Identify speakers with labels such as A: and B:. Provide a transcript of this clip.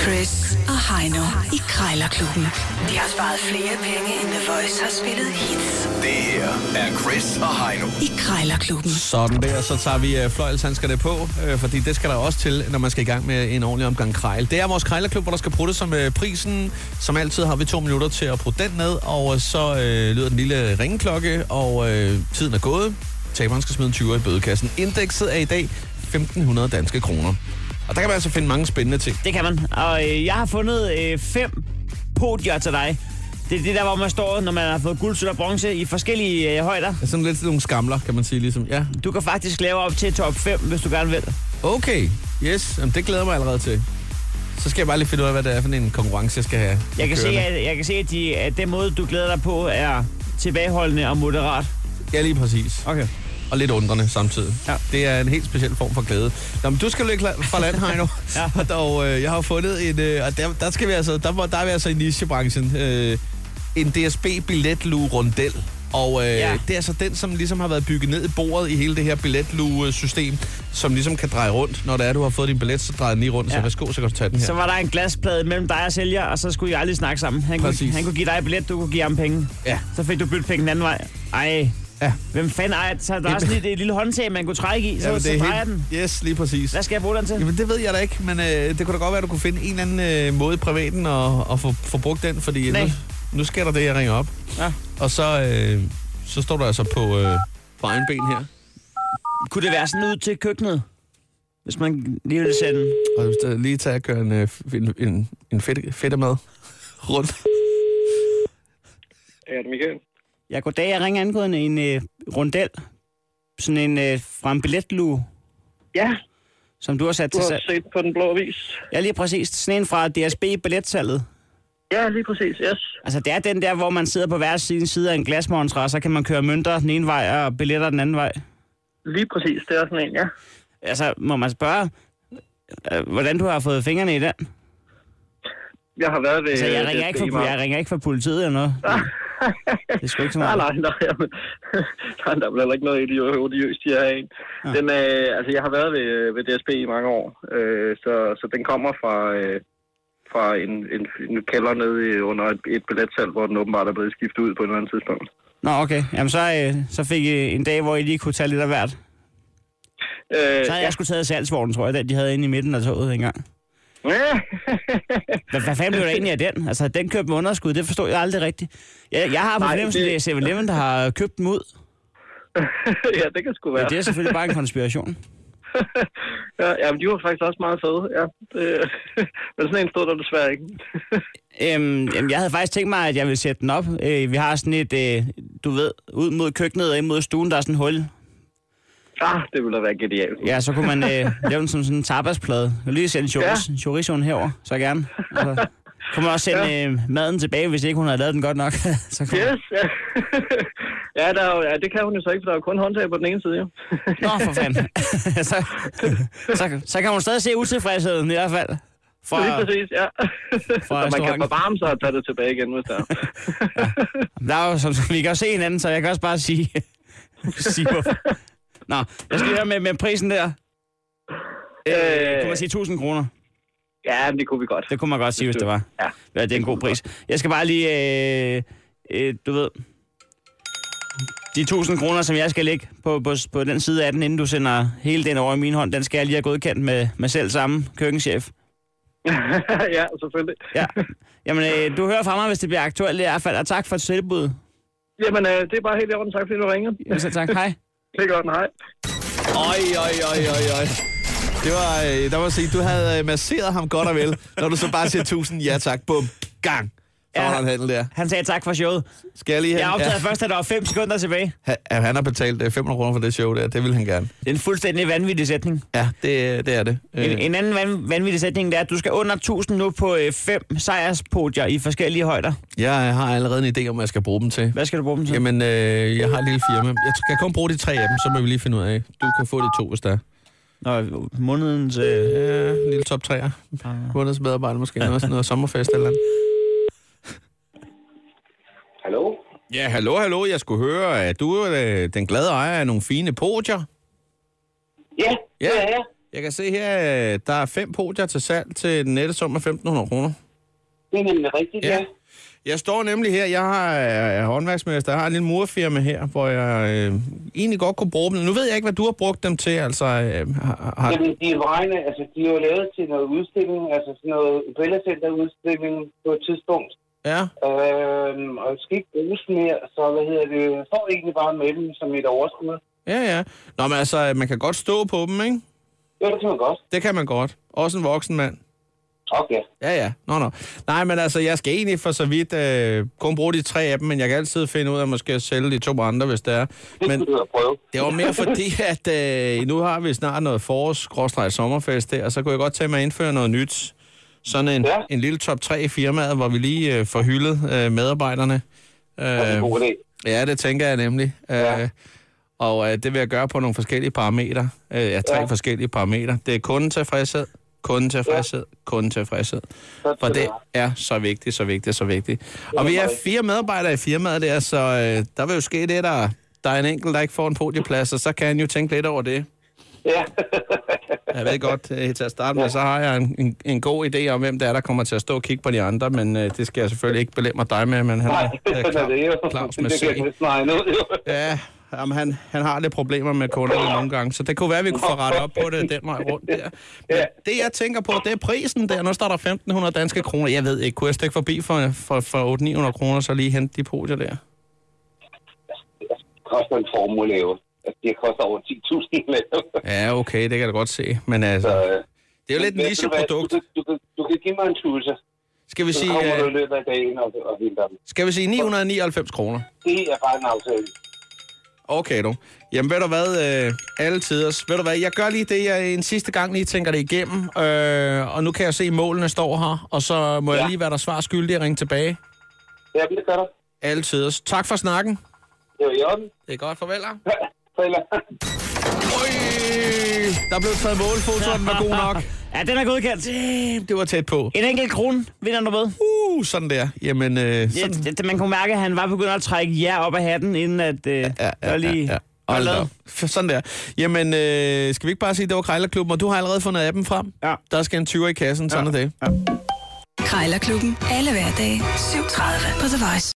A: Chris og Heino i Krejlerklubben. De har sparet flere penge, end The Voice har spillet hits
B: Det her er Chris og Heino.
A: i Krejlerklubben.
C: Sådan der, så tager vi øh, fløjelshandskerne på, øh, fordi det skal der også til, når man skal i gang med en ordentlig omgang krejl. Det er vores krejlerklub, hvor der skal prutte som øh, prisen. Som altid har vi to minutter til at prutte den ned, og øh, så øh, lyder den lille ringeklokke, og øh, tiden er gået. Taberen skal smide en 20'er i bødekassen. Indekset er i dag 1.500 danske kroner. Og der kan man altså finde mange spændende ting.
D: Det kan man. Og øh, jeg har fundet øh, fem podier til dig. Det er det der, hvor man står, når man har fået guld, sølv og bronze i forskellige øh, højder.
C: Det er sådan lidt nogle skamler, kan man sige ligesom. Ja,
D: Du kan faktisk lave op til top 5, hvis du gerne vil.
C: okay, yes, Jamen, det glæder jeg mig allerede til. Så skal jeg bare lige finde ud af, hvad det er for en konkurrence, jeg skal have.
D: Jeg kan, se,
C: kørende.
D: at, jeg kan se, at, de, at den måde, du glæder dig på, er tilbageholdende og moderat.
C: Ja, lige præcis.
D: Okay.
C: og lidt undrende samtidig.
D: Ja.
C: Det er en helt speciel form for glæde. Nå, men du skal lykke la- fra land, Heino.
D: Ja.
C: Og dog, øh, jeg har fundet en... Øh, og der, der, skal vi altså, der, må- der er vi altså i nichebranchen. Øh, en dsb billetlue rundel. Og øh, ja.
D: Ja.
C: det er altså den, som ligesom har været bygget ned i bordet i hele det her billetlue-system, som ligesom kan dreje rundt. Når det er, du har fået din billet, så drejer den lige rundt, ja. så
D: Ja.
C: værsgo, så kan du tage den her.
D: Så var der en glasplade mellem dig og sælger, og så skulle I aldrig snakke sammen. Han kunne,
C: Præcis.
D: han kunne give dig et billet, du kunne give ham penge.
C: Ja.
D: Så fik du byttet penge den anden vej. Ej,
C: Ja.
D: hvem fanden ejer det? Så der er
C: Jamen-
D: sådan et, et lille håndtag, man kunne trække i, så,
C: Jamen,
D: så drejer den.
C: Yes, lige præcis.
D: Hvad skal jeg bruge den til?
C: Jamen, det ved jeg da ikke, men øh, det kunne da godt være, at du kunne finde en eller anden øh, måde i privaten og, og få, få brugt den, fordi nu,
D: Nej.
C: nu sker der det, jeg ringer op.
D: Ja.
C: Og så, øh, så står du altså på, øh, på egen ben her.
D: Kunne det være sådan ud til køkkenet? Hvis man lige ville sende...
C: Og hvis du lige tager og kører en, øh, en, en, en fedt, fedtemad rundt.
E: Ja, det er Michael.
D: Ja, goddag. Jeg ringer angående en øh, rundel. Sådan en øh, fra en billetlue,
E: Ja,
D: som du har sat
E: du
D: til
E: har
D: salg.
E: set på den blå avis.
D: Ja, lige præcis. Sådan en fra DSB billetsalget.
E: Ja, lige præcis, yes.
D: Altså, det er den der, hvor man sidder på hver sin side af en glasmontre, og så kan man køre mønter den ene vej og billetter den anden vej.
E: Lige præcis, det er sådan en, ja.
D: Altså, må man spørge, øh, hvordan du har fået fingrene i den?
E: Jeg har været ved...
D: Så Altså, jeg
E: øh,
D: ringer,
E: DSB
D: ikke for,
E: meget.
D: jeg ringer ikke for politiet eller noget. Det er sgu ikke så
E: Nej,
D: meget.
E: nej, nej. jamen. nej der er vel heller ikke noget idio- odiøst i at have en.
D: Ja.
E: Den, øh, altså, jeg har været ved, øh, ved DSB i mange år, øh, så, så den kommer fra, øh, fra en, en, en kælder nede i- under et, et billetsal, hvor den åbenbart er blevet skiftet ud på et eller andet tidspunkt.
D: Nå, okay. Jamen, så, øh, så fik I en dag, hvor I lige kunne tage lidt af hvert.
E: Øh,
D: Så havde jeg sgu taget salgsvognen, tror jeg, den de havde inde i midten af toget engang.
E: ja.
D: Hvad, hvad fanden blev der egentlig af den? Altså, den købte med underskud, det forstod jeg aldrig rigtigt. Jeg, jeg har på
E: Nej,
D: fornemmelsen,
E: det-
D: det er 7-Eleven, der har købt dem ud.
E: ja, det kan sgu
D: Men
E: være.
D: det er selvfølgelig bare en konspiration.
E: ja, jamen, de var faktisk også meget fede, ja. Det, men sådan en stod der desværre ikke.
D: Øhm, jamen, jeg havde faktisk tænkt mig, at jeg ville sætte den op. Øh, vi har sådan et, øh, du ved, ud mod køkkenet og ind mod stuen, der er sådan et hul.
E: Ah, det ville da være genialt.
D: Ja, så kunne man øh, lave den som sådan en tapasplade. Jeg vil lige sende choriz, ja. chorizoen herover, så gerne. Og så kunne man også sende ja. øh, maden tilbage, hvis ikke hun havde lavet den godt nok. så kunne
E: Yes, ja. ja, der er, jo- ja, det kan hun jo så ikke, for der er jo kun håndtag på den ene side, jo.
D: Nå, for fanden. så, så, så kan hun stadig se utilfredsheden i hvert fald.
E: Så lige
D: Fra,
E: præcis, ja.
D: fra
E: så man
D: restauranten.
E: kan
D: Øh,
E: forvarme sig og tage det tilbage igen, hvis der er.
D: der er jo, som, vi kan jo se hinanden, så jeg kan også bare sige, sige hvorfor. Nå, jeg skal lige høre med, med prisen der. Øh, kunne man sige 1000 kroner?
E: Ja, men det kunne vi godt.
D: Det kunne man godt sige, hvis det var.
E: Ja.
D: Ja, det er en god pris. Jeg skal bare lige, øh, øh, du ved, de 1000 kroner, som jeg skal lægge på, på, på den side af den, inden du sender hele den over i min hånd, den skal jeg lige have godkendt med, med selv samme køkkenchef.
E: ja, selvfølgelig.
D: Ja. Jamen, øh, du hører fra mig, hvis det bliver aktuelt i hvert fald, og tak for tilbuddet.
E: Jamen, øh, det er bare helt i orden. Tak, fordi du ringer.
D: Jamen, så Altså, tak. Hej.
E: Det er godt, hej.
C: Oj, oj, oj, oj, oj. Det var, øh, der var sige, du havde øh, masseret ham godt og vel, når du så bare siger tusind ja tak, bum, gang. Så
D: Ja.
C: var der en handel der.
D: Han sagde tak for showet.
C: Skal jeg lige
D: Jeg
C: hen?
D: opdagede først, at der var 5 sekunder tilbage.
C: Han, han har betalt øh, 500 kroner for det show der, det vil han gerne.
D: Det er en fuldstændig vanvittig sætning.
C: Ja, det, det er det. Øh,
D: En, en anden van, vanvittig sætning det er, at du skal under 1000 nu på 5 sejrspodier i forskellige højder.
C: Jeg øh, har allerede en idé om, hvad jeg skal bruge dem til.
D: Hvad skal du bruge dem til? Jamen.
C: Jamen, øh, jeg har et lille firma. Jeg kan kun bruge de tre af dem, så må vi lige finde ud af. Du kan få de to, hvis der er.
D: Nå, månedens... Øh,
C: Ja, en lille top træer. Månedens medarbejder måske. Noget, sådan noget sommerfest eller andet.
F: Hallo?
C: Ja, hallo, hallo. Jeg skulle høre, at du er øh, den glade ejer af nogle fine podier.
F: Ja,
C: Ja.
F: det er jeg.
C: Jeg kan se her, øh, der er fem podier til salg til den nette sum af 1.500 kroner.
F: Det er nemlig rigtigt, ja. ja.
C: Jeg står nemlig her, jeg har jeg er håndværksmester, jeg har en lille murfirma her, hvor jeg øh, egentlig godt kunne bruge dem. Nu ved jeg ikke, hvad du har brugt dem til, altså. Øh, har, har,
F: Jamen, de vegne, altså, de er jo lavet til noget udstilling, altså sådan noget udstilling på et tidspunkt.
C: ja.
F: Øhm, og skal ikke bruges mere, så hvad hedder det, jeg står egentlig bare med dem som et overskud.
C: Ja, ja. Nå, men altså, øh, man kan godt stå på dem, ikke?
F: Jo, det kan man godt.
C: Det kan man godt. Også en voksen mand.
F: Okay.
C: Ja, ja. Nå, nå. Nej, men altså, jeg skal egentlig for så vidt øh, kun bruge de tre af dem, men jeg kan altid finde ud af måske at sælge de to andre, hvis det er.
F: Det
C: Men
F: men... skulle du da prøve.
C: det var mere fordi, at øh, nu har vi snart noget forårs-sommerfest her, og så kunne jeg godt tænke mig at indføre noget nyt. Sådan en, ja.
F: Ja.
C: en lille top 3 i firmaet, hvor vi lige øh, får hyldet øh, medarbejderne.
F: Det
C: Øhm.
F: er en god idé.
C: Ja, det tænker jeg nemlig. Ja. Øh, og øh, det vil jeg gøre på nogle forskellige parametre. Øh, ja, tre ja.
F: Ja.
C: forskellige parametre. Det er kunden tilfredshed, kunden tilfredshed, ja. kunden tilfredshed.
F: Sådan
C: For
F: skal
C: det
F: det være.
C: er så vigtigt, så vigtigt, så vigtigt. Og
F: er
C: vi er
F: meget
C: fire medarbejdere i firmaet der, så øh, der vil jo ske det, der, der er en enkelt, der ikke får en podieplads, og så kan han jo tænke lidt over det.
F: Ja.
C: Jeg ved godt, øh, til at starte med, så har jeg en, en, en god idé om, hvem det er, der kommer til at stå og kigge på de andre, men øh, det skal jeg selvfølgelig ikke belemre dig med, men han
F: Nej,
C: er, er
F: sådan er det jo.
C: Claus- Claus med
F: det kan
C: C.
F: jeg næsten regne ud, jo.
C: Ja, jamen han, han har lidt problemer med kunderne nogle gange, så det kunne være, at vi kunne få rettet op på det den vej rundt der. Men
F: Ja.
C: det, jeg tænker på, det er prisen der. Nu starter 1.500 danske kroner. Jeg ved ikke, kunne jeg stikke forbi for, for, for 800-900 kroner, så lige hente de podier der?
F: Det koster en formue at lave. Altså, det koster over 10.000 at lave.
C: Ja, okay, det kan jeg da godt se. Men altså,
F: Så, øh,
C: det er jo lidt
F: ved
C: et
F: du hvad,
C: nicheprodukt.
F: Du, kan- du, kan- du kan give mig en tusse.
C: Skal vi
F: Så
C: sige,
F: kommer du i
C: øh,
F: løbet af dagen og, og henter dem.
C: skal vi sige 999 kroner?
F: Det er bare en aftale.
C: Okay, du. Jamen, ved du hvad, øh, alle tiders. Ved du hvad, jeg gør lige det, jeg en sidste gang lige tænker det igennem. Øh, og nu kan jeg se, at målene står her, og så må ja. jeg
F: Ja.
C: lige være der svar skyldig og ringe tilbage.
F: Ja, men det gør du.
C: Alle tiders. Tak for snakken.
F: Det er i orden.
C: Det er godt, farvel.
F: Så ellers-
C: Der blev taget målfoto, og den var god nok.
D: Ja, den er godkendt.
C: Damn, det var tæt på.
D: En enkelt krone vinder du med.
C: Uh, sådan der. Jamen, øh,
D: Ja,
C: sådan.
D: det- det- man kunne mærke, at han var begyndt at trække jer op af hatten, inden at... Øh, ja, ja, lige,
C: Ja,
D: Hold
C: hold
D: da
C: op. Sådan der. Jamen, øh, skal vi ikke bare sige, at det var Krejlerklubben, og du har allerede fundet appen frem?
D: Ja.
C: Der skal en 20 i kassen, sådan ja. er det.
A: Krejlerklubben. Alle hverdage. 7.30 på The Voice.